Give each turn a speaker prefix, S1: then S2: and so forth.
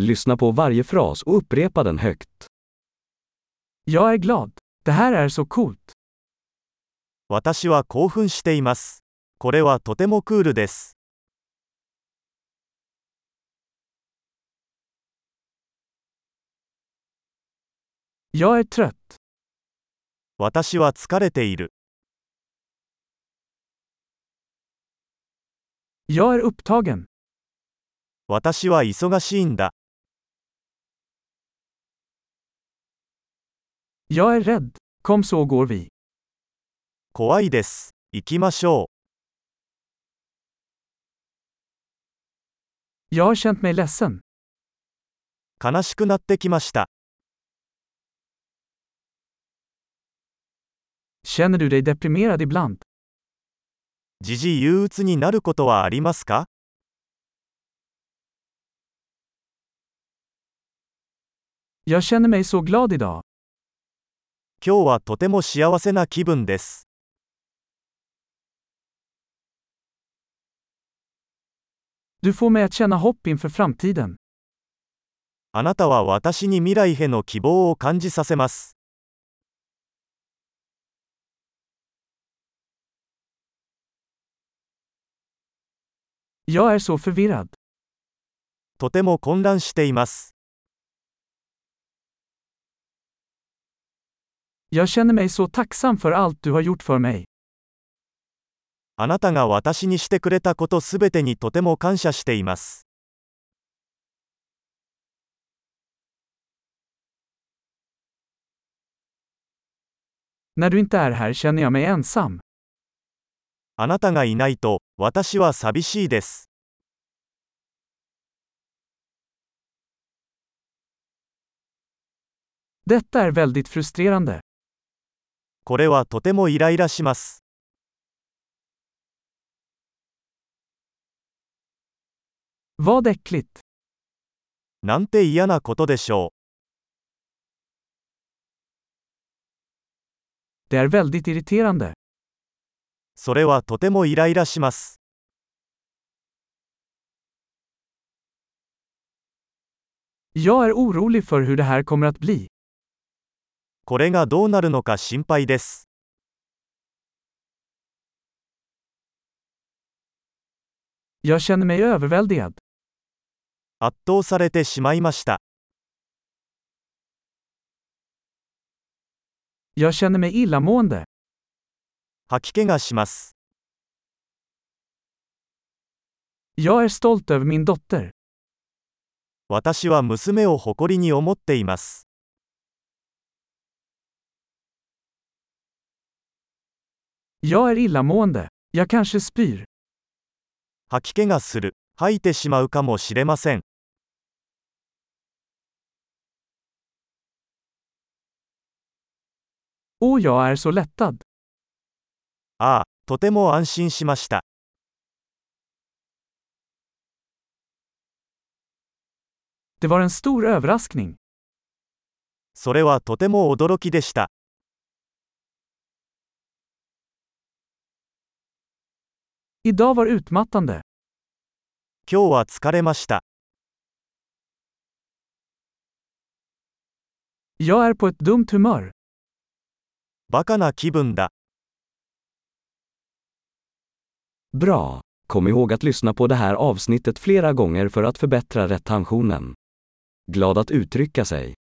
S1: Lyssna på varje fras och upprepa den högt.
S2: Jag är glad. Det här är så coolt.
S3: 私は興奮しています。これはとてもクールです。
S2: Jag är trött.
S3: 私は疲れている。
S2: Jag är upptagen.
S3: 私は忙しいんだ。
S2: Jag är rädd. Kom så går vi.
S3: 怖いです。行きましょう。
S2: Jag har känt mig ledsen.
S3: 悲しくなってきました。
S2: Känner du dig deprimerad ibland?
S3: 時々憂鬱になることはありますか
S2: Jag känner mig så glad idag.
S3: 今日はとても幸せな気分です。
S2: Du får mig att känna hopp inför framtiden.
S3: あなたは私に未来への希望を感じさせます。
S2: Jag är så förvirrad.
S3: とても混乱しています。
S2: Jag känner mig så tacksam för allt du har gjort för mig.
S3: あなたが私にしてくれたことすべてにとても感謝しています。
S2: När du inte är här känner jag mig ensam.
S3: あなたがいないと、私は寂しいです。
S2: Detta är väldigt frustrerande.
S3: これはとてもイライラします。
S2: Vad äckligt.
S3: なんて嫌なことでしょ
S2: Det är väldigt irriterande.
S3: う。それはとてもイライラします。
S2: Jag är orolig för hur det här kommer att bli.
S3: これがどうなるのか心配です。
S2: Jag känner mig överväldigad.
S3: 圧倒されてしまいました。
S2: Jag känner mig illamående.
S3: 吐き気がします。
S2: Jag är stolt över min dotter.
S3: 私は娘を誇りに思っています。
S2: Jag är illamående. Jag kanske spyr.
S3: 吐き気がする。吐いてしまうかもしれません。
S2: Och jag är så lättad.
S3: ああ、とても安心しました。
S2: Det var en stor överraskning.
S3: それはとても驚きでした。
S2: Idag var utmattande.
S3: 今日は疲れました。
S2: Jag är på ett dumt humör.
S3: バカな気分だ。
S1: Bra! Kom ihåg att lyssna på det här avsnittet flera gånger för att förbättra retentionen. Glad att uttrycka sig.